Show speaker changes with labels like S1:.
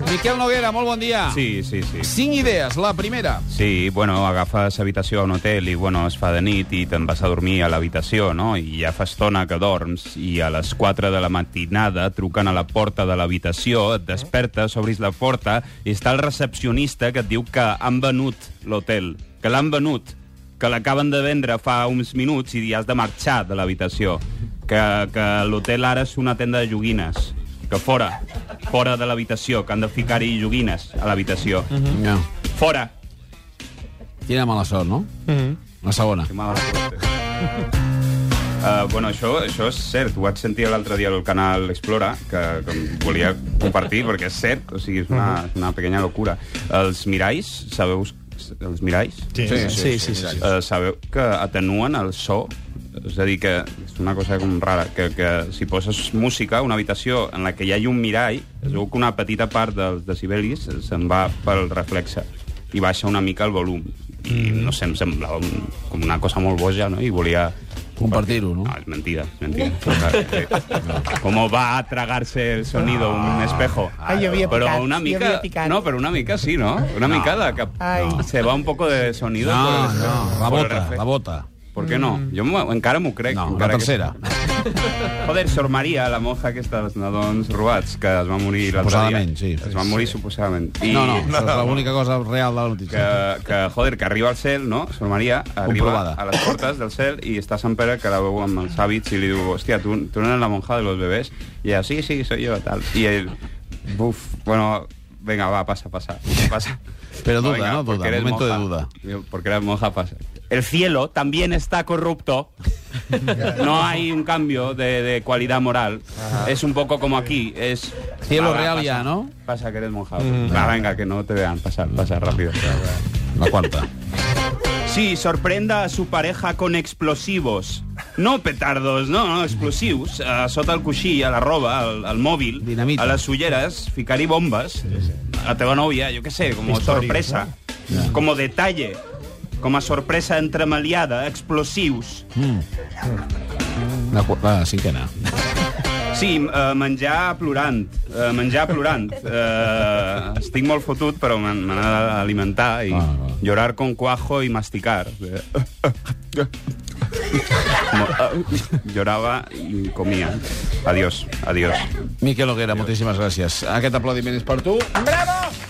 S1: Miquel Noguera, molt bon dia.
S2: Sí, sí, sí.
S1: Cinc idees. La primera.
S2: Sí, bueno, agafes habitació a un hotel i, bueno, es fa de nit i te'n vas a dormir a l'habitació, no? I ja fa estona que dorms i a les 4 de la matinada truquen a la porta de l'habitació, et despertes, obris la porta i està el recepcionista que et diu que han venut l'hotel, que l'han venut, que l'acaben de vendre fa uns minuts i has de marxar de l'habitació, que, que l'hotel ara és una tenda de joguines, que fora, fora de l'habitació, que han de ficar-hi joguines a l'habitació.
S1: No.
S2: Fora!
S1: Quina mala sort, no? La segona.
S2: Que mala suerte. Uh, bueno, això, això és cert. Ho vaig sentir l'altre dia al canal Explora, que, que em volia compartir, perquè és cert, o sigui, és una, una pequeña locura. Els miralls, sabeu els miralls?
S3: Sí, sí, sí. sí, sí, sí.
S2: Eh, sabeu que atenuen el so? És a dir, que és una cosa com rara, que, que si poses música a una habitació en la que hi ha un mirall, es veu que una petita part dels decibelis se'n va pel reflexe i baixa una mica el volum. I no sé, em semblava un, com una cosa molt boja, no? I volia...
S1: Compartir-ho, no?
S2: No, és mentida, és mentida. Com va a tragarse el sonido un espejo.
S4: Ai, jo havia
S2: però
S4: picat,
S2: una
S4: jo
S2: mica...
S4: havia picat.
S2: No, però una mica sí, no? Una mica de cap...
S4: Ai.
S2: Se va un poco de sonido. por
S1: No,
S2: el espejo.
S1: no. La
S2: Por el
S1: bota,
S2: reflejo.
S1: la bota.
S2: ¿Por qué no? Jo m'ho- encara m'ho crec.
S1: No, la
S2: encara
S1: tercera.
S2: Que... Joder, Sor Maria, la monja aquesta dels nadons robats, que es va morir l'altre dia.
S1: Suposadament, sí.
S2: Es va morir suposadament. I
S1: No, no, això
S2: Que,
S1: és l'única cosa real de la notícia.
S2: que, joder, que arriba al cel, no? Sor Maria arriba
S1: Comprovada.
S2: a les portes del cel i està Sant Pere, que la veu amb els hàbits, i li diu, hòstia, tu, tu no eres la monja de los bebés? I ella, sí, sí, soy yo, tal. I ell, buf, bueno, venga, va, pasa, pasa, pasa.
S1: Pero duda,
S2: Venga,
S1: ¿no?
S2: porque
S1: Duda,
S2: eres
S1: momento de
S2: monja.
S1: duda.
S2: Yo, Porque eres monja, pasa. El cielo también está corrupto. No hay un cambio de, de cualidad moral. Es un poco como aquí. Es
S1: Cielo
S2: Va, va,
S1: real
S2: pasa,
S1: ya, ¿no?
S2: Pasa que eres monja. Va, venga, que no te vean. Pasa, pasa rápido.
S1: La quarta.
S2: Sí, sorprenda a su pareja con explosivos. No petardos, no, no, explosius. A sota el coixí, a la roba, al, al mòbil,
S1: Dinamita.
S2: a les ulleres, ficar-hi bombes. A la teva nòvia, jo què sé, com a sorpresa. Com a detalle. Com a sorpresa entremaliada, explosius.
S1: La, qu- la cinquena.
S2: Sí, eh, menjar plorant. Eh, menjar plorant. Eh, estic molt fotut, però me me n'he d'alimentar i
S1: Ah, va.
S2: llorar con cuajo i masticar. Eh, Mo- eh, Llorava i comia. Adiós, adiós.
S1: Miquel Noguera, moltíssimes gràcies. Aquest aplaudiment és per tu.
S4: Bravo!